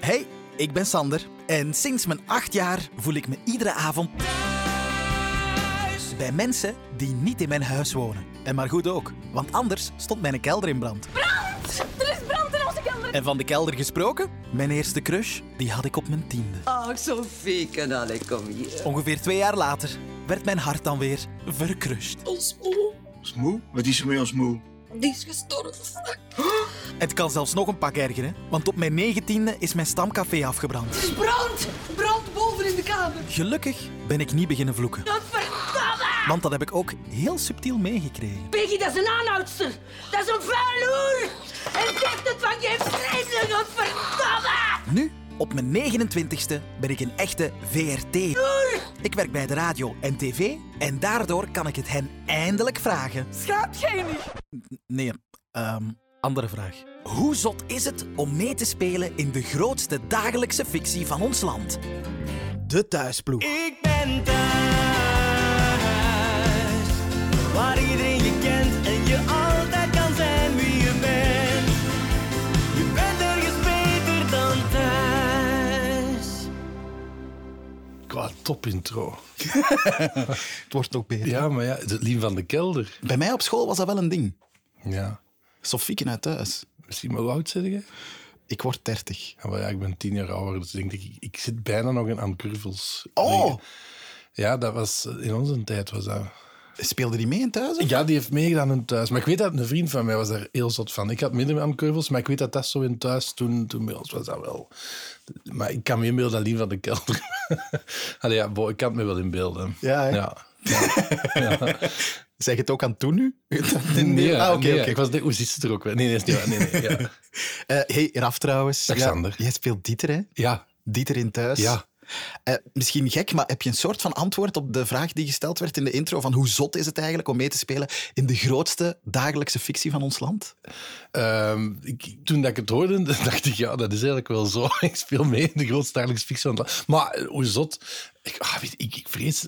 Hey, ik ben Sander en sinds mijn acht jaar voel ik me iedere avond bij mensen die niet in mijn huis wonen. En maar goed ook, want anders stond mijn kelder in brand. Er is brand in onze kelder. En van de kelder gesproken, mijn eerste crush, die had ik op mijn tiende. Ach, Sophie, kanale, kom hier. Ongeveer twee jaar later werd mijn hart dan weer verkrust. Ons oom, Ons moe? Wat is er mee ons moe? die is gestorven. Het kan zelfs nog een pak ergeren, want op mijn negentiende is mijn stamcafé afgebrand. Er is brand. Brand boven in de kamer. Gelukkig ben ik niet beginnen vloeken, Dat verdamme. want dat heb ik ook heel subtiel meegekregen. Peggy, dat is een aanhoudster. Dat is een vuil hoer. En zegt het van je vreemdeling. Dat verdamme. Nu, op mijn 29ste, ben ik een echte VRT. Ik werk bij de radio en tv en daardoor kan ik het hen eindelijk vragen. Schaamt jij niet? Nee, ehm, andere vraag. Hoe zot is het om mee te spelen in de grootste dagelijkse fictie van ons land? De thuisploeg. Ik ben thuis, waar iedereen je kent en je altijd kan zijn wie je bent. Je bent ergens beter dan thuis. Qua topintro. Het wordt nog beter. Ja, maar ja, het Lien van de Kelder. Bij mij op school was dat wel een ding. Ja. Sofieken uit thuis. Misschien maar hoe oud zit je? Ik word 30. Ja, maar ja, ik ben tien jaar ouder, dus ik denk ik, ik zit bijna nog in aan Curvels. Oh! Ja, dat was in onze tijd was dat. Speelde die mee in thuis? Ja, die heeft meegedaan in thuis. Maar ik weet dat een vriend van mij was daar heel zot van. Ik had midden aan Curvels, maar ik weet dat dat zo in thuis toen, toen bij ons was dat wel. Maar ik kan me inbeelden dat Lien van de Kelder. Allee, ja, bo, ik kan het me wel inbeelden. Ja, hè? ja. Zeg het ook aan toen nu? Nee, ah, oké. nee, oké. Ik was de, hoe zit ze er ook weer? Nee, nee, is niet waar. Nee, nee, ja. Eh, hey, Raf trouwens. Dag, Ja, Sander. jij speelt Dieter, hè? ja, Dieter in thuis. Ja. Eh, misschien gek, maar heb je een soort van antwoord op de vraag die gesteld werd in de intro van hoe zot is het eigenlijk om mee te spelen in de grootste dagelijkse fictie van ons land? Ehm, ik, toen dat ik het hoorde, dacht ik, ja, dat is eigenlijk wel zo. Ik speel mee in de grootste dagelijkse fictie van het land. Maar eh, hoe zot? Ik, ah, weet, ik, ik vrees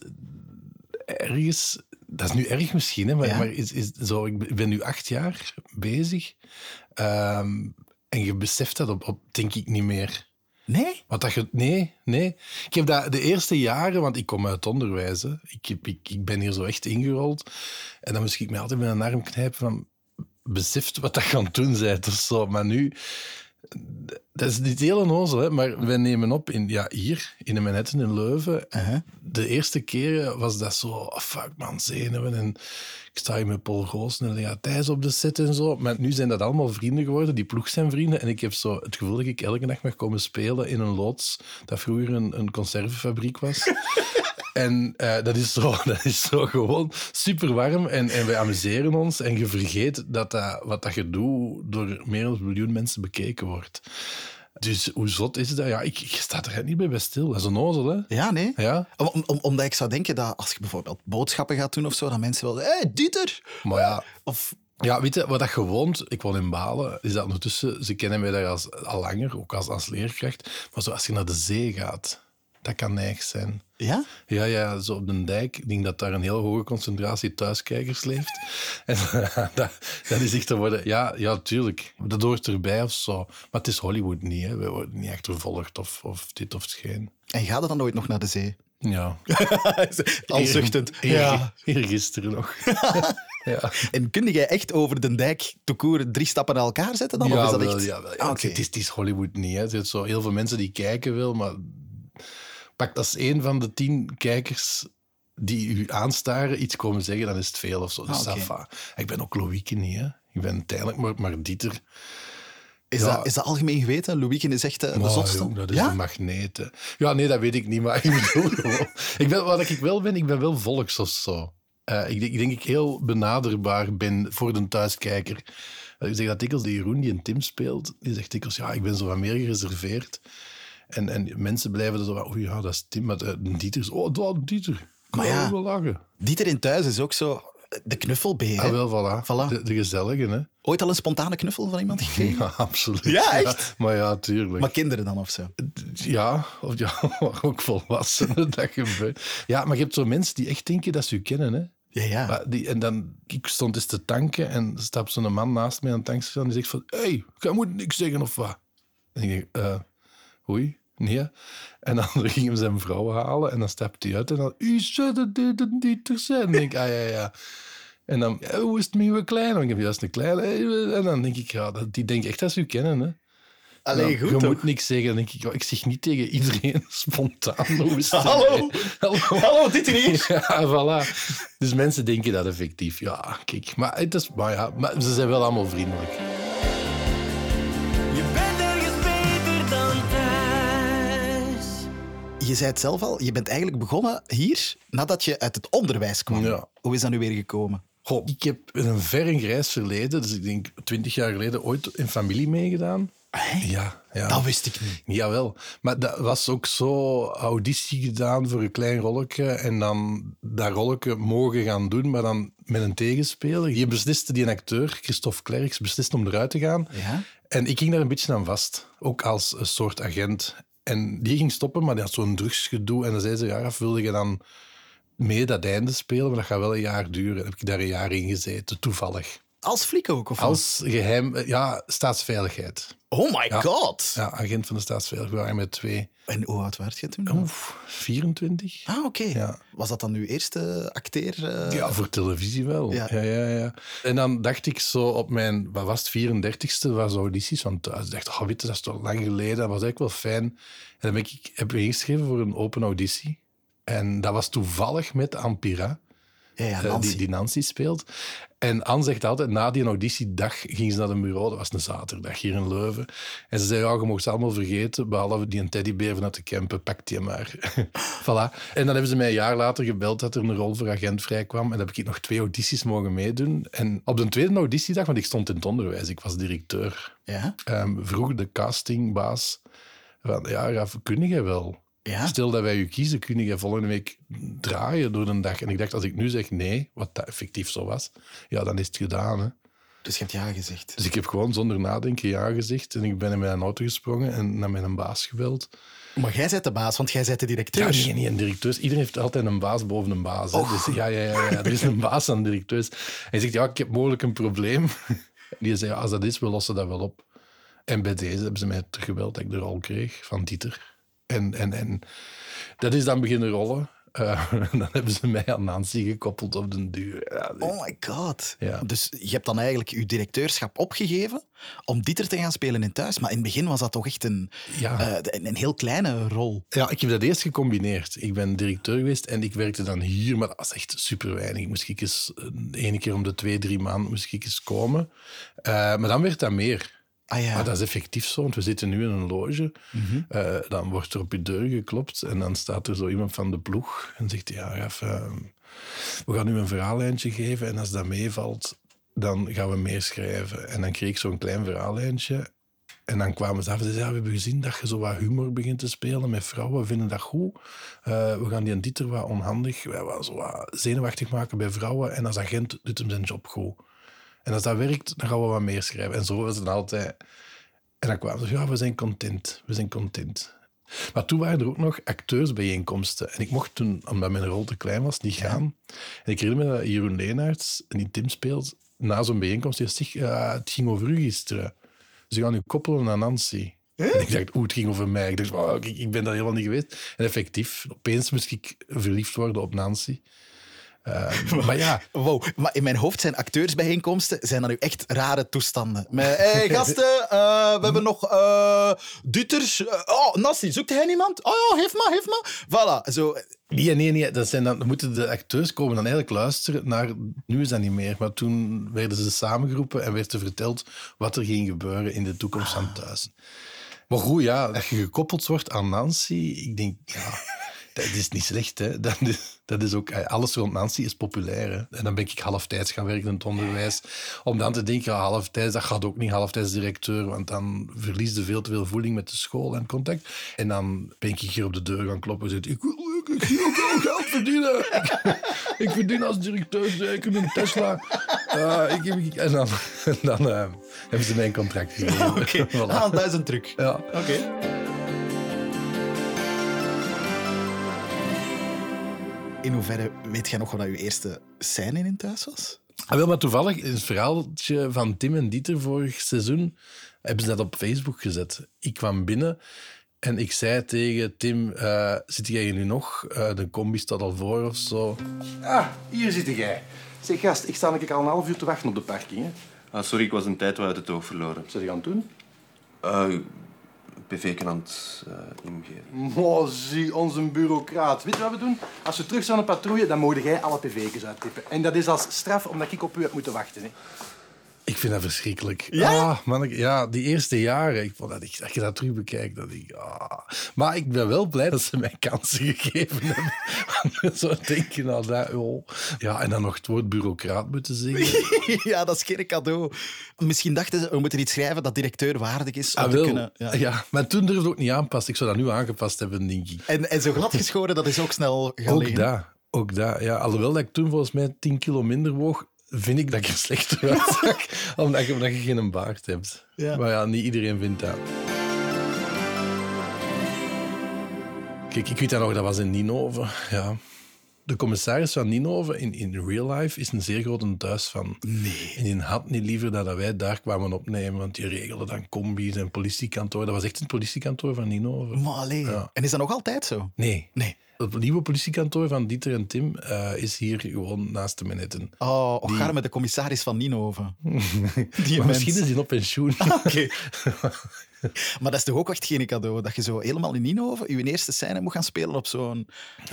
ergens... Dat is nu erg misschien, hè, maar, Ja. maar is, is zo, ik ben- ik ben nu acht jaar bezig. Ehm, en je beseft dat op, op, denk ik, niet meer. Nee? Want dat je, nee, nee. Ik heb dat de eerste jaren, want ik kom uit onderwijs. Hè. Ik, heb, ik, ik ben hier zo echt ingerold. En dan moest ik me altijd met een arm knijpen van... Beseft wat dat gaan doen bent of zo. Maar nu... Dat is niet heel onnozel, hè, maar wij nemen op in, ja, hier, in Manhattan, in Leuven. De eerste keren was dat zo, ah, fuck man, zenuwen. En ik sta hier met Paul Goos en Lea Thijs op de set en zo. Maar nu zijn dat allemaal vrienden geworden, die ploeg zijn vrienden. En ik heb zo het gevoel dat ik elke dag mag komen spelen in een loods dat vroeger een, een conservenfabriek was. En eh, dat, is zo, dat is zo gewoon super warm. En, en wij amuseren ons. En je vergeet dat, dat wat dat gedoe door meer dan een miljoen mensen bekeken wordt. Dus hoe zot is dat? Ja, ik, ik sta er niet bij bij stil. Dat is een ozel, hè? Ja, nee? Ja. Om, om- omdat ik zou denken dat als je bijvoorbeeld boodschappen gaat doen of zo, dat mensen wel zeggen, hey, Dieter! Maar ja, Of ja weet je, wat dat gewoond, ik woon in Balen, is dat ondertussen, ze kennen mij daar als, al langer, ook als, als leerkracht. Maar zo als je naar de zee gaat, dat kan neig zijn. Ja? Ja, ja, zo op de dijk. Ik denk dat daar een heel hoge concentratie thuiskijkers leeft. en eh, dat, dat is echt te worden. Ja, ja, tuurlijk. Dat hoort erbij of zo. Maar het is Hollywood niet, hè. We worden niet achtervolgd of, of dit of geen. En ga er dan ooit nog naar de zee? Ja. Al zuchtend. Ja. Hier gisteren nog. ja. En kun jij echt over de dijk te koer drie stappen naar elkaar zetten dan? of Oh, is dat wel, echt... ja, wel, ja. Ah, Ik oké. zeg, Het, is, het is Hollywood niet. Hè. Er zijn zo heel veel mensen die kijken wel, maar pak als één van de tien kijkers die u aanstaren iets komen zeggen, dan is het veel of zo. Dus Ah, oké. ça va. Ik ben ook Loïke niet. Hè. Ik ben uiteindelijk maar, maar Dieter. Is, ja. dat, is dat algemeen geweten? Louieken is echt eh, de Maar, zotste. jong, dat is ja? een magneet. hè. Ja, nee, dat weet ik niet, maar ik bedoel gewoon... Ik ben, wat ik wel ben, ik ben wel volks of zo. Eh, ik, denk, ik denk ik heel benaderbaar ben voor de thuiskijker. Eh, Ik zeg dat dikwijls, die Jeroen die een Tim speelt, die zegt dikwijls, ja, ik ben zo wat meer gereserveerd. En, en mensen blijven er zo van, oei, ja, dat is Tim. Maar eh, Dieter is, oh, dat Dieter. Kan Maar ja. wel lachen. Dieter in thuis is ook zo eh, de knuffelbeer. hè? Ah, wel, voilà. Voilà. De, de gezellige, hè. Ooit al een spontane knuffel van iemand gekregen? Ja, absoluut. Ja, echt? maar ja, tuurlijk. Maar kinderen dan of zo? Ja, of ja, ook volwassenen, dat gebeurt. Ja, maar je hebt zo mensen die echt denken dat ze u kennen, hè. Ja, ja. Maar die, en dan, ik stond eens te tanken en er stapt zo'n man naast mij aan het tankstation en die zegt van, hé, hey, jij moet niks zeggen of wat? En ik denk, eh, oei, nee. En dan ging hem zijn vrouw halen en dan stapte hij uit en dan... U zou dit niet er zijn. denk ik, ah ja, ja. En dan, ja, hoe is het met uw kleine? Want ik heb juist een kleine. En dan denk ik, ja, dat- die denk echt dat ze u kennen, hè. Allee, Nou, goed Je toch? moet niks zeggen. Dan denk ik, ja, ik zeg niet tegen iedereen spontaan. Hoe is het Hallo? ermee? Hallo. Hallo, dit hier. Ja, voilà. Dus mensen denken dat effectief. Ja, kijk. Maar, het is, maar, ja, maar ze zijn wel allemaal vriendelijk. Je bent ergens beter dan thuis. Je zei het zelf al, je bent eigenlijk begonnen hier nadat je uit het onderwijs kwam. Ja. Hoe is dat nu weer gekomen? Goh, ik heb een ver en grijs verleden, dus ik denk twintig jaar geleden, ooit in familie meegedaan. Ja, ja. Dat wist ik niet. Jawel, maar dat was ook zo auditie gedaan voor een klein rolletje en dan dat rolletje mogen gaan doen, maar dan met een tegenspeler. Je besliste, die acteur, Christophe Klerks, beslist om eruit te gaan. Ja? En ik ging daar een beetje aan vast, ook als een soort agent. En die ging stoppen, maar die had zo'n drugsgedoe. En dan zei ze, ja, af, wilde je dan mee dat einde spelen? Maar dat gaat wel een jaar duren. heb ik daar een jaar in gezeten, toevallig. Als flik ook, of wat? Als geheim, ja, staatsveiligheid. Oh my god! Ja, agent van de staatsveiligheid, we waren met twee. En hoe oud werd je toen? Oef, 24? Ah, oké. Ja. Was dat dan uw eerste acteer? eh? Ja, voor televisie wel. Ja. Ja. Ja, ja, En dan dacht ik zo op mijn, wat was het, 34ste, was audities van thuis. Ik dacht, oh, weet je, dat is toch lang geleden, dat was eigenlijk wel fijn. En dan ben ik, heb ik ingeschreven voor een open auditie. En dat was toevallig met Ampira, Ja, ja, eh, Nancy. die, die Nancy speelt. En Anne zegt altijd, na die auditiedag ging ze naar een bureau, dat was een zaterdag hier in Leuven. En ze zei, ja, je mocht ze allemaal vergeten, behalve die een teddybeer vanuit de Kempen, pak die maar. voilà. En dan hebben ze mij een jaar later gebeld dat er een rol voor agent vrij kwam. En dan heb ik nog twee audities mogen meedoen. En op de tweede auditiedag, want ik stond in het onderwijs, ik was directeur, Ja? ehm, vroeg de castingbaas van, ja, Raf, kun jij wel? Ja? Stel dat wij u kiezen, kun je volgende week draaien door de dag. En ik dacht, als ik nu zeg nee, wat dat effectief zo was, ja, dan is het gedaan. Hè. Dus je hebt ja gezegd. Dus ik heb gewoon zonder nadenken ja gezegd. En ik ben in mijn auto gesprongen en naar mijn baas gebeld. Maar jij bent de baas, want jij bent de directeur. Ja, nee, nee, een directeur. Iedereen heeft altijd een baas boven een baas. hè. Dus, ja, ja, ja, ja, er is een baas aan directeurs. Hij zegt, ja, ik heb mogelijk een probleem. Die zei, ja, als dat is, we lossen dat wel op. En bij deze hebben ze mij teruggebeld dat ik de rol kreeg van Dieter. En, en, en dat is dan beginnen rollen. Eh, dan hebben ze mij aan Nancy gekoppeld op den duur. Ja, dus- dit- Oh my god. Ja. Dus je hebt dan eigenlijk je directeurschap opgegeven om Dieter te gaan spelen in thuis. Maar in het begin was dat toch echt een, ja. eh, een, een heel kleine rol. Ja, ik heb dat eerst gecombineerd. Ik ben directeur geweest en ik werkte dan hier, maar dat was echt super weinig. Moest ik eens, een ene keer om de twee, drie maanden moest ik eens komen. Eh, maar dan werd dat meer. Ah ja. Maar dat is effectief zo, want we zitten nu in een loge. Eh, dan wordt er op je deur geklopt en dan staat er zo iemand van de ploeg en zegt, ja, Raf, eh, we gaan nu een verhaallijntje geven en als dat meevalt, dan gaan we meer schrijven. En dan kreeg ik zo'n klein verhaallijntje en dan kwamen ze af en zeiden, ja, we hebben gezien dat je zo wat humor begint te spelen met vrouwen, we vinden dat goed. Eh, we gaan die en Dieter wat onhandig, wij wat, zo wat zenuwachtig maken bij vrouwen en als agent doet hem zijn job goed. En als dat werkt, dan gaan we wat meer schrijven. En zo was het altijd. En dan kwamen ze, ja, we zijn content, we zijn content. Maar toen waren er ook nog acteursbijeenkomsten. En ik mocht toen, omdat mijn rol te klein was, niet gaan. En ik herinner me dat Jeroen Leenaerts, die Tim speelt, na zo'n bijeenkomst, die zegt, "Ja, het ging over u gisteren. Ze gaan u koppelen aan Nancy. En ik dacht, oeh, het ging over mij. Ik dacht, wauw, ik, ik ben daar helemaal niet geweest. En effectief, opeens moest ik verliefd worden op Nancy. Eh, maar ja... Wow, maar in mijn hoofd zijn acteursbijeenkomsten zijn dan nu echt rare toestanden. Met, hey, gasten, eh, we hebben nog eh Duters. Eh, oh, Nassi, zoekt hij niemand? Oh ja, heeft maar, heeft maar. Voilà, zo. eh, Nee, nee, nee. Dat zijn dan, dan moeten de acteurs komen dan eigenlijk luisteren naar... Nu is dat niet meer, maar toen werden ze samengeroepen en werd er verteld wat er ging gebeuren in de toekomst van thuis. Maar goed, ja, dat je gekoppeld wordt aan Nancy, ik denk, ja, dat is niet slecht, hè. Dat is, dat is ook... eh, Alles rond Nancy is populair, hè. En dan ben ik halftijds gaan werken in het onderwijs. Om dan te denken, ja, halftijds, dat gaat ook niet, halftijds directeur, want dan verlies je veel te veel voeling met de school en contact. En dan ben ik hier op de deur gaan kloppen en zit ik wil ik, ik wil wel geld verdienen. Ik, ik verdien als directeur zeker een Tesla. Eh, ik, heb- ik- en dan, en dan eh, hebben ze mijn contract gegeven. Oké, Voilà. ah, dat is een truc. Ja. Oké. In hoeverre weet jij nog wat dat je eerste scène in thuis was? Ah, wel, maar toevallig, in het verhaaltje van Tim en Dieter vorig seizoen, hebben ze dat op Facebook gezet. Ik kwam binnen En ik zei tegen Tim, eh, zit jij hier nu nog? Eh, de combi staat al voor of zo. Ah, hier zit jij. Zeg, gast, ik sta eigenlijk al een half uur te wachten op de parking. Hè. Ah, sorry, ik was een tijd wel uit het oog verloren. Wat zijn je aan het doen? Eh PV-ken aan het eh, ingeven. Oh, zie, onze bureaucraat. Weet je wat we doen? Als we terug zijn op patrouille, dan mogen jij alle pv'tjes uittippen. En dat is als straf, omdat ik op u heb moeten wachten. Hè. Ik vind dat verschrikkelijk. Ja? Ah, man, ik- ja, die eerste jaren. Ik vond dat ik, als je dat terug bekijkt, dat ik... ah. Maar ik ben wel blij dat ze mij kansen gegeven hebben. zo denk je nou dat, joh. Ja, en dan nog het woord bureaucraat moeten zeggen. ja, dat is geen cadeau. Misschien dachten ze, we moeten iets schrijven dat directeur waardig is om Ah, te wel. kunnen... Ja. ja. maar toen durfde ik ook niet aanpassen. Ik zou dat nu aangepast hebben, denk ik. En, en zo gladgeschoren, dat is ook snel gaan Ook liggen. dat, ook dat. Ja, alhoewel dat ik toen volgens mij 10 kilo minder woog, vind ik dat ik er slechter uitzag. omdat, je, omdat je geen baard hebt. Ja. Maar ja, niet iedereen vindt dat. Kijk, ik weet dat nog, dat was in Ninove. Ja. De commissaris van Ninove in, in real life is een zeer grote thuis van. Nee. En die had niet liever dat wij daar kwamen opnemen, want die regelde dan combi's en politiekantoor. Dat was echt een politiekantoor van Ninove. Maar allee. Ja. En is dat nog altijd zo? Nee. Nee. Het nieuwe politiekantoor van Dieter en Tim eh, is hier gewoon naast de Manhattan. Oh, och, met de commissaris van Ninhoven. Die Maar mens. misschien is hij op pensioen. Oké. maar dat is toch ook echt geen cadeau, dat je zo helemaal in Ninhoven je eerste scène moet gaan spelen op zo'n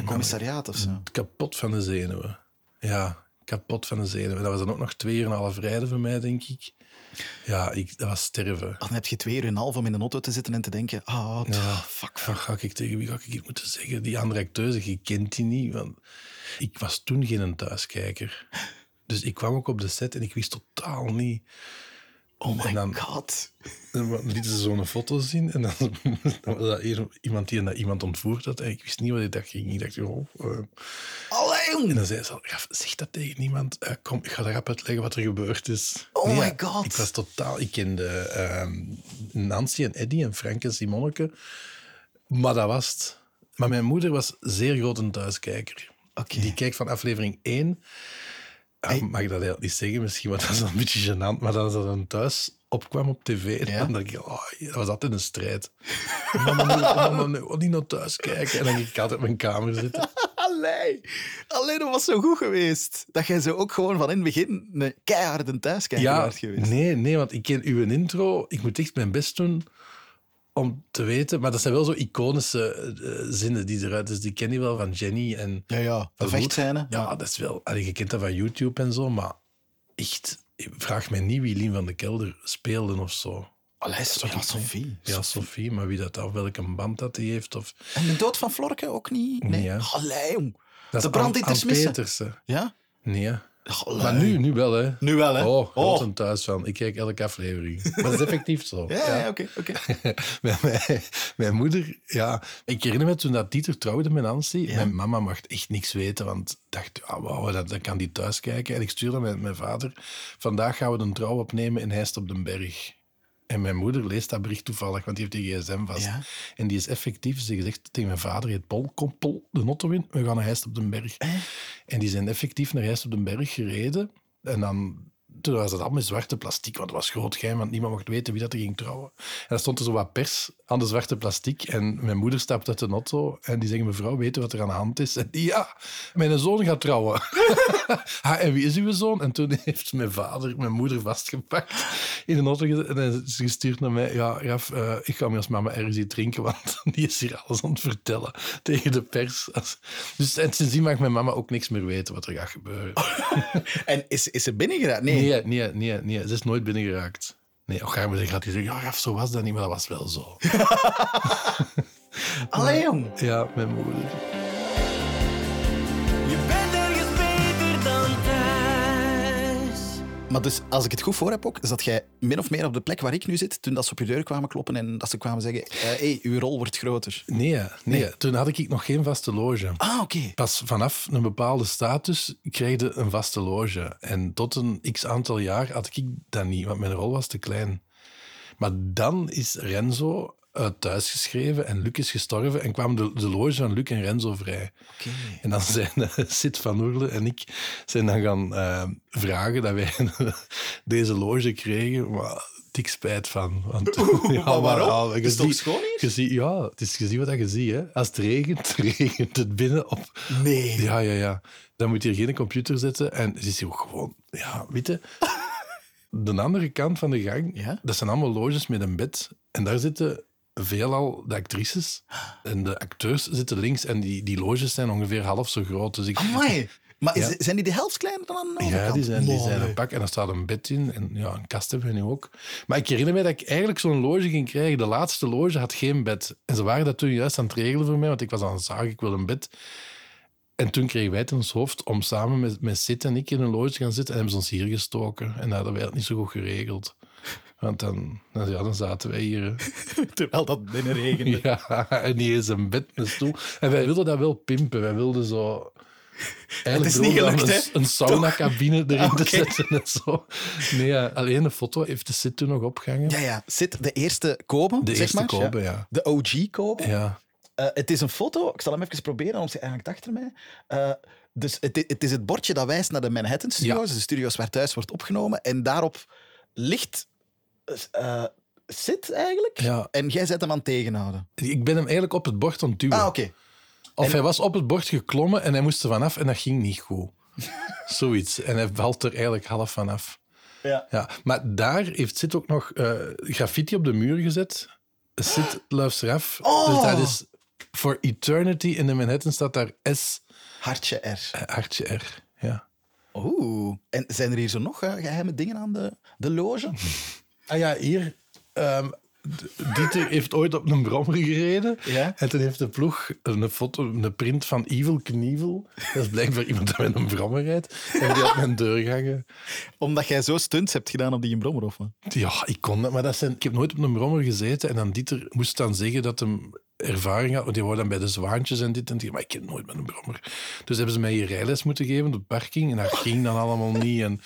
commissariaat of zo. kapot van de zenuwen. Ja, kapot van de zenuwen. Dat was dan ook nog tweeënhalf rijden voor mij, denk ik. Ja, ik, dat was sterven. Dan heb je twee uur en een half om in een auto te zitten en te denken, ah, pff, Ja, fuck, wat ga ik tegen wie ga ik iets moeten zeggen? Die andere acteurs, je kent die niet. Want ik was toen geen thuiskijker. Dus ik kwam ook op de set en ik wist totaal niet. oh my en dan- god. En dan lieten ze zo'n foto zien en dan, dan was dat hier iemand die dat iemand ontvoerd had. En ik wist niet wat ik dacht. ging. Ik dacht, oh, eh. Allee, jong. En dan zei ze al, "Gaf, zeg dat tegen niemand. Eh, kom, ik ga erop uitleggen wat er gebeurd is. Oh Nee, my God. Ik was totaal... Ik kende ehm, Nancy en Eddie en Frank en Simonneke. Maar dat was het. Maar mijn moeder was zeer groot een thuiskijker. Oké. Die kijkt van aflevering 1. Ah, Mag ik dat eigenlijk niet zeggen? Misschien, want dat is een beetje gênant. Maar dat ze dan thuis opkwam op tv, Ja. dan dacht ik, oh, dat was altijd een strijd. Mama, nee, mama, nee, oh, niet naar thuis kijken. En dan ging ik altijd op mijn kamer zitten. Allee. Allee, dat was zo goed geweest. Dat jij zo ook gewoon van in het begin een keiharde thuiskijker Ja, werd geweest. nee, nee, want ik ken uw intro. Ik moet echt mijn best doen om te weten. Maar dat zijn wel zo iconische eh, zinnen die eruit... Dus die ken je wel van Jenny en... Ja, ja. De Van vechtscène. Hoed. Ja, dat is wel... allee, je kent dat van YouTube en zo, maar echt... Vraag mij niet wie Lien van de Kelder speelde of zo. Allee, sorry, Sophie. Ja, Sophie, maar wie dat, of welke band dat die heeft. Of, En de dood van Florke ook niet? Nee. Nee, hè. Allee, jong. dat De is brand Ann- die te Ann smissen. Petersen. Ja? Nee, hè. Allee. maar nu, nu wel, hè. Nu wel, hè? Oh, Oh. oh. een thuis van. Ik kijk elke aflevering. Maar dat is effectief zo. Ja, ja, oké. oké. mijn, mijn, mijn moeder, ja. Ik herinner me toen dat Dieter trouwde met Nancy. Mijn mama mag echt niks weten, want ik dacht, ah, wauw, dat, dat kan die thuis kijken. En ik stuurde met mijn vader, vandaag gaan we een trouw opnemen in Heist op den Berg. En mijn moeder leest dat bericht toevallig, want die heeft die gsm vast. Ja. En die is effectief, ze zegt tegen mijn vader, heet Paul, kom Paul, de notto in, we gaan naar Heist op den Berg. En die zijn effectief naar Heist op den Berg gereden. En dan... Toen was dat allemaal zwarte plastic, want het was groot geheim, want niemand mocht weten wie dat er ging trouwen. En dan stond er zo wat pers aan de zwarte plastic. En mijn moeder stapt uit de auto en die zegt, mevrouw, weet u wat er aan de hand is? En die, ja, mijn zoon gaat trouwen. ha, en wie is uw zoon? En toen heeft mijn vader mijn moeder vastgepakt in een auto gezet en hij is gestuurd naar mij. Ja, Raf, eh, ik ga me als mama ergens iets drinken, want die is hier alles aan het vertellen tegen de pers. Als- Dus en sindsdien mag mijn mama ook niks meer weten wat er gaat gebeuren. En is, is ze binnengeraakt? Nee. Nee, nee, nee, nee. Ze is nooit binnengeraakt. Nee, och, Garmin gaat hij zeggen, ja, Raf, zo was dat niet, maar dat was wel zo. Allee, jong. Ja, mijn moeder. Je bent ergens beter dan thuis. Maar dus, als ik het goed voor heb ook, zat jij min of meer op de plek waar ik nu zit, toen dat ze op je deur kwamen kloppen en dat ze kwamen zeggen, eh, hey, uw rol wordt groter. Nee, nee, toen had ik nog geen vaste loge. Ah, oké. Pas vanaf een bepaalde status kreeg je een vaste loge. En tot een x aantal jaar had ik dat niet, want mijn rol was te klein. Maar dan is Renzo thuisgeschreven thuis geschreven en Luc is gestorven en kwamen de, de loge van Luc en Renzo vrij. En dan zijn eh, Sid van Oerle en ik zijn dan gaan eh, vragen dat wij deze loge kregen. Maar dik spijt van. Want, maar waarom? al- Is je het toch ziet- schoon hier? je ziet- ja, het is gezien wat dat je ziet. Hè. Als het regent, regent het binnen op... Nee. Ja, ja, ja. Dan moet je hier geen computer zetten. En het is hier ook gewoon... Ja, weet je... De andere kant van de gang, Ja? dat zijn allemaal loges met een bed. En daar zitten veelal de actrices. En de acteurs zitten links. En die, die loges zijn ongeveer half zo groot. Dus ik, Amai. Maar is- Ja. zijn die de helft kleiner dan aan de ja, overkant? die zijn, die Mooi. zijn een pak en daar staat een bed in. En ja, een kast hebben we nu ook. Maar ik herinner me dat ik eigenlijk zo'n loge ging krijgen. De laatste loge had geen bed. En ze waren dat toen juist aan het regelen voor mij, want ik was aan het zagen, ik wil een bed. En toen kregen wij het in ons hoofd om samen met, met Sid en ik in een loge te gaan zitten. En hebben ze ons hier gestoken. En dat hadden wij het niet zo goed geregeld. Want dan, dan, ja, dan zaten wij hier. hè. Terwijl dat binnen regende. Ja, en die is een bed, een stoel. En wij wilden dat wel pimpen. Wij wilden zo... Eigenlijk Het is niet bedoelde dat gelukt, een, hè? Ah, een sauna-cabine erin te zetten en zo. Nee, ja, alleen de foto heeft de sit toen nog opgehangen. Ja, ja. Zit de eerste komen, de zeg eerste maar. kopen, ja. De OG kopen. ja. Eh, het is een foto, ik zal hem even proberen, want ze hangt achter mij. Eh, dus het, i- het is het bordje dat wijst naar de Manhattan Studios, de studio's waar thuis wordt opgenomen. En daarop ligt eh Sid eigenlijk. Ja. En jij zet hem aan het tegenhouden. Ik ben hem eigenlijk op het bord aan het duwen. Ah, oké. Of hij was op het bord geklommen en hij moest er vanaf en dat ging niet goed. Zoiets. En hij valt er eigenlijk half vanaf. Ja. Ja, maar daar heeft Sid ook nog eh, graffiti op de muur gezet. Sid loves Raf. Dus dat is for eternity in de Manhattan staat daar S, Hartje R. eh, hartje R. Ja. Oeh. En zijn er hier zo nog eh, geheime dingen aan de, de loge? Ah ja, hier. ehm, D- Dieter heeft ooit op een brommer gereden. Ja. En toen heeft de ploeg een foto, een print van Evil Knievel. Dat is blijkbaar iemand die met een brommer rijdt. En die had mijn deur gehangen. Omdat jij zo stunts hebt gedaan op die in Brommer, of wat? Ja, ik kon dat, maar dat zijn, ik heb nooit op een brommer gezeten. En dan Dieter moest dan zeggen dat hem ervaring had. Want die wou dan bij de zwaantjes en dit en die. Maar ik heb nooit met een brommer. Dus hebben ze mij hier rijles moeten geven op de parking. En dat ging dan allemaal niet. En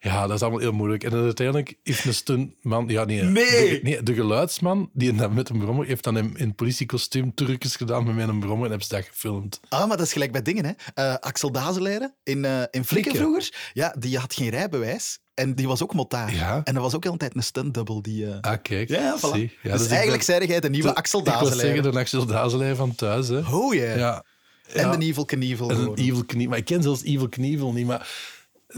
ja, dat is allemaal heel moeilijk. En dan uiteindelijk heeft een stuntman... Ja, nee. De, nee, de geluidsman, die dan met een brommer, heeft dan in, in politiekostuum Turkjes gedaan met mijn brommer. En hebben ze dat gefilmd. Ah, maar dat is gelijk bij dingen, hè. Eh, Axel Dazeleren in, eh in Flikken Flikken. vroeger. Ja, die had geen rijbewijs. En die was ook motaar. Ja. En dat was ook altijd een stuntdubbel. Die, eh, Ah, kijk. Ja, voilà. Zie. dus, ik ben- eigenlijk zei jij de nieuwe Axel Ik was zeggen, Dazeleren. de Axel Dazelij van thuis, hè. Oh yeah. Ja. En Ja. de Evil Knievel. En een geworden. Evil Knievel. Maar ik ken zelfs Evil Knievel niet, maar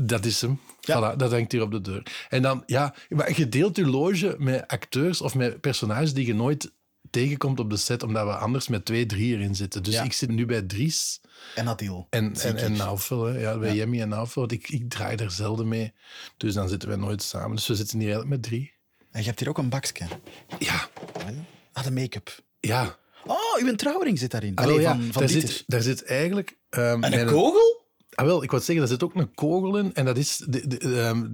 dat is hem. Voilà, dat hangt hier op de deur. En dan, ja, maar je deelt je loge met acteurs of met personages die je nooit tegenkomt op de set, omdat we anders met twee, drie erin zitten. Dus Ja. ik zit nu bij Dries En Adil. en, en, en nou. Zeker. Naufel, hè. Ja, bij Jemmy en Naufel, want ik, ik draai daar zelden mee. Dus dan zitten wij nooit samen. Dus we zitten hier eigenlijk met drie. En je hebt hier ook een bakje. Ja, Ah, de make-up. ja. Oh, uw trouwring zit daarin. Ah, Allee, wel, ja. van, van daar, Dieter. zit, daar zit eigenlijk... ehm, En mijn- een kogel? Ah, wel, ik wou zeggen, er zit ook een kogel in. En dat is... De, de, ehm,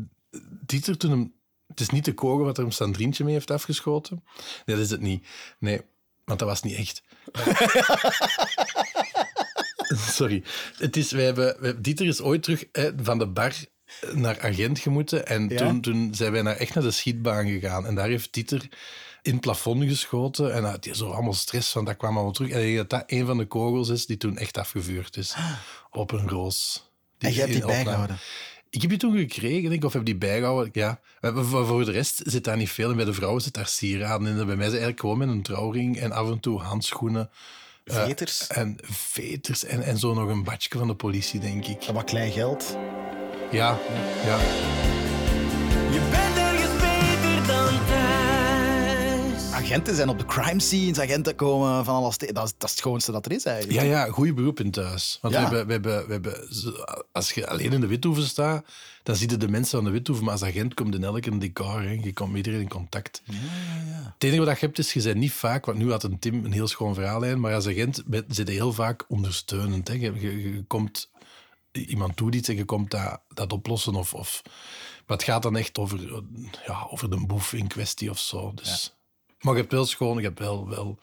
Dieter toen hem... Het is niet de kogel wat er hem Sandrientje mee heeft afgeschoten. Nee, dat is het niet. Nee, want dat was niet echt. Sorry. Het is, wij hebben, wij- Dieter is ooit terug hè, van de bar naar agent gemoeten. En toen, toen zijn wij naar, echt naar de schietbaan gegaan. En daar heeft Dieter in het plafond geschoten. En had hij zo allemaal stress van, dat kwam allemaal terug. En ik denk dat dat een van de kogels is die toen echt afgevuurd is. Op een roos. Ah. En jij hebt die in opname. bijgehouden. Ik heb die toen gekregen, denk ik, of heb die bijgehouden. Ja. Maar voor voor de rest zit daar niet veel. En bij de vrouwen zit daar sieraden in. En Bij mij is het eigenlijk gewoon met een trouwring en af en toe handschoenen. eh, Veters. en veters en, en zo nog een badje van de politie, denk ik. Wat klein geld. Ja, ja. Je bent ergens beter dan thuis. Agenten zijn op de crime scenes, agenten komen van alles tegen. Dat, is- dat is het schoonste dat er is eigenlijk. Ja, ja, goede beroep in thuis. Want Ja. we hebben, we hebben, we hebben, zo- als je alleen in de Withoeven staat, dan zie je de mensen aan de Withoeven. Maar als agent komt in elke decor, hè. je komt met iedereen in contact. Het enige wat je hebt is, je bent niet vaak, want nu had een Tim een heel schoon verhaallijn, maar als agent ben- zit je heel vaak ondersteunend. Hè. Je, je- je komt iemand toe die iets en je komt dat, dat oplossen. Of, of, maar het gaat dan echt over, eh, ja, over de boef in kwestie of zo. Dus. Maar je hebt wel schoon, je hebt wel, wel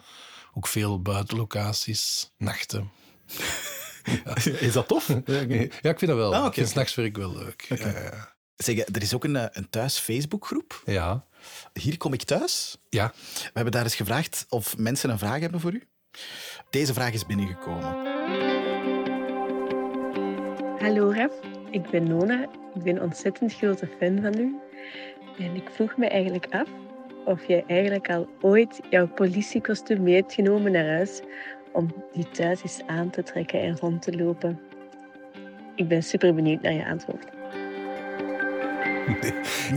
ook veel buitenlocaties, nachten. Is dat tof? Ja, ik vind dat wel. Ah, oké, Ik vind oké. s'nachtswerk wel leuk. Ja, ja, Zeg, er is ook een, eh, een thuis Facebookgroep. ja. Hier kom ik thuis. ja. We hebben daar eens gevraagd of mensen een vraag hebben voor u. Deze vraag is binnengekomen. Hallo Ref, ik ben Nona. Ik ben ontzettend grote fan van u. En ik vroeg me eigenlijk af of jij eigenlijk al ooit jouw politiekostuum mee hebt genomen naar huis om die thuis eens aan te trekken en rond te lopen. Ik ben super benieuwd naar je antwoord.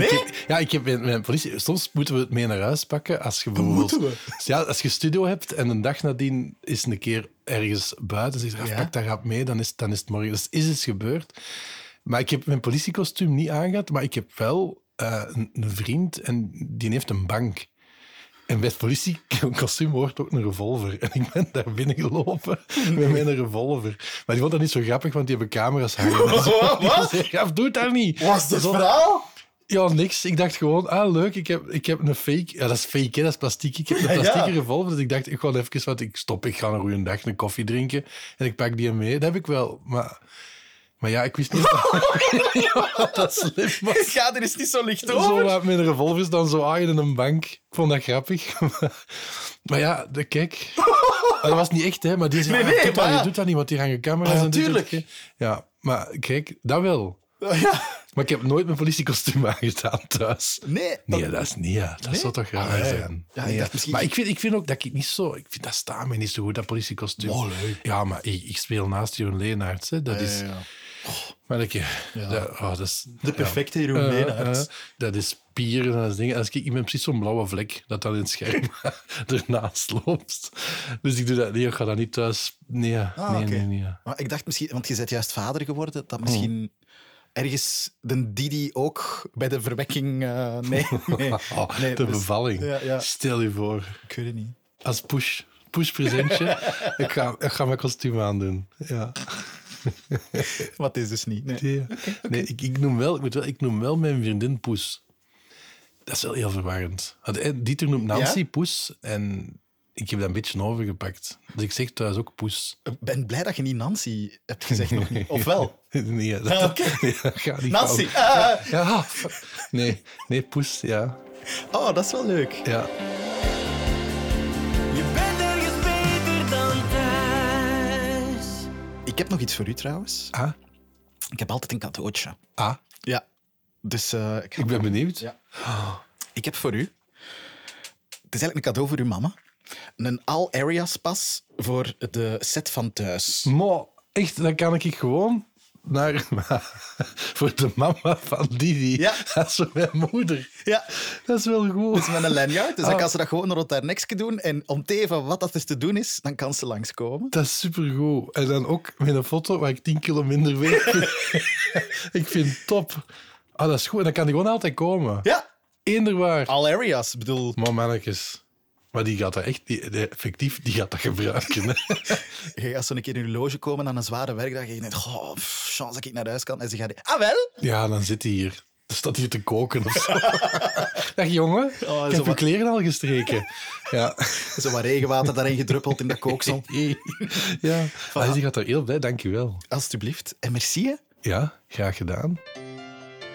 Ik heb- ja, ik heb mijn, mijn politie... Soms moeten we het mee naar huis pakken als je bijvoorbeeld... Dus Ja, als je studio hebt en een dag nadien is een keer ergens buiten, zegt er, "Ah, pak dat gaat mee, dan is, het- dan is het morgen. Dus is iets gebeurd. Maar ik heb mijn politiekostuum niet aangehad, maar ik heb wel eh, een, een vriend en die heeft een bank. En bij het politiekostuum hoort ook een revolver. En ik ben daar binnengelopen met mijn revolver. Maar die vond dat niet zo grappig, want die hebben camera's hangen. Wat? Ja, doe het daar niet. Was dit Dat- verhaal? ja, niks. Ik dacht gewoon, ah, leuk, ik heb, ik heb een fake... Ja, dat is fake, hè, dat is plastic. Ik heb een Ja, ja. plastieke revolver, dus ik dacht, ik ga even... Want ik stop, ik ga een goede dag een koffie drinken en ik pak die mee. Dat heb ik wel, maar... Maar ja, ik wist niet wat dat slim was. Ja, er is niet zo licht Zo laat mijn revolvers dan zo aan in een bank. Ik vond dat grappig. Maar, maar ja, de, kijk. Maar dat was niet echt, hè. Maar die zei, Nee, ah, nee, doet dat maar niet, ja. doet dat niet, want die hangen camera's. Ah, ja, en dit en tuurlijk. dat. Ja, maar kijk, dat wel. Ja. Maar ik heb nooit mijn politiekostuum aangedaan thuis. Nee. dat- Nee, dat is niet. Ja. Dat zou toch raar Ah, ja. zijn. Ja, ik Nee, dacht misschien- Maar ik vind, ik vind ook dat ik niet zo... Ik vind, dat staat mij niet zo goed, dat politiekostuum. Ja, maar ik, ik speel naast Jeroen Leenaerts. Hè. Dat is... Maar dat, je- dat, oh, dat is... De perfecte Jeroen Eh, Leenaerts. eh, dat is pieren en dat is dingen. Als ik, ik ben precies zo'n blauwe vlek dat dan in het scherm ernaast loopt. Dus ik doe dat niet. Ik ga dat niet thuis... Nee, nee, Ah, oké. nee, nee. ja. Hmm. Maar ik dacht misschien, want je bent juist vader geworden, dat misschien ergens de Didi ook bij de verwekking. eh, nee, nee, Oh, nee, de dus- bevalling. Ja, ja. Stel je voor. ik weet het niet. als push, push presentje. ik, ga, ik ga mijn kostuum aandoen. Ja. Maar het is dus niet. Nee. Nee, nee ik, ik, noem wel, ik, moet wel, ik noem wel mijn vriendin Poes. Dat is wel heel verwarrend. Want, eh, Dieter noemt Nancy Ja? Poes en ik heb dat een beetje overgepakt. Dus ik zeg thuis ook Poes. Ik ben blij dat je niet Nancy hebt gezegd, nog niet. of wel? Nee, dat, Ah, oké. nee, dat gaat niet Nancy! fout. ah, Ja, fuck. nee, nee, Poes, ja. oh, dat is wel leuk. ja. Je bent ergens beter dan thuis. Ik heb nog iets voor u trouwens. Ah, Ik heb altijd een cadeautje. ah, Ja. Dus eh, ik, ik ben benieuwd. Ja. ik heb voor u. Het is eigenlijk een cadeau voor uw mama. Een All Areas pas voor de set van thuis. Mo, echt, dan kan ik gewoon naar... voor de mama van Didi. Ja. Dat is voor mijn moeder. Ja, Dat is wel goed. met een lanyard. Dus dan Ah. kan ze dat gewoon rond haar nekje doen. En om te even wat dat is te doen is, dan kan ze langskomen. Dat is supergoed. En dan ook met een foto waar ik 10 kilo minder weeg. ik vind het top. Ah, dat is goed. En dan kan die gewoon altijd komen. Ja, Eender waar. All Areas. Ik bedoel, Maar mannetjes. Maar die gaat dat echt... Die, die- effectief, die gaat dat gebruiken. hè. je gaat zo een keer in je loge komen aan een zware werkdag. En je denkt, oh, pff, chance dat ik naar huis kan. En ze gaat, ah wel? ja, dan zit hij hier. Dan staat hier te koken of zo. Dag jongen. Oh, zo ik heb je wat- kleren al gestreken. Ja. Zo wat regenwater daarin gedruppeld in dat kooksel. ja. Ah, die gaat daar heel blij. Dankjewel. Alsjeblieft. En merci, hè. Ja, graag gedaan.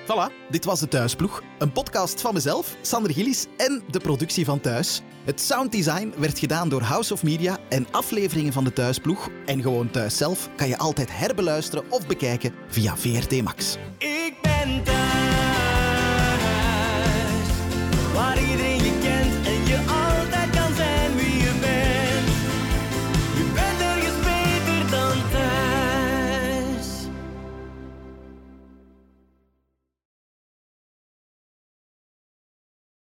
Voilà, dit was De Thuisploeg. Een podcast van mezelf, Sander Gillis en de productie van Thuis. Het sounddesign werd gedaan door House of Media en afleveringen van De Thuisploeg en gewoon Thuis zelf kan je altijd herbeluisteren of bekijken via VRT Max. Ik ben thuis, waar iedereen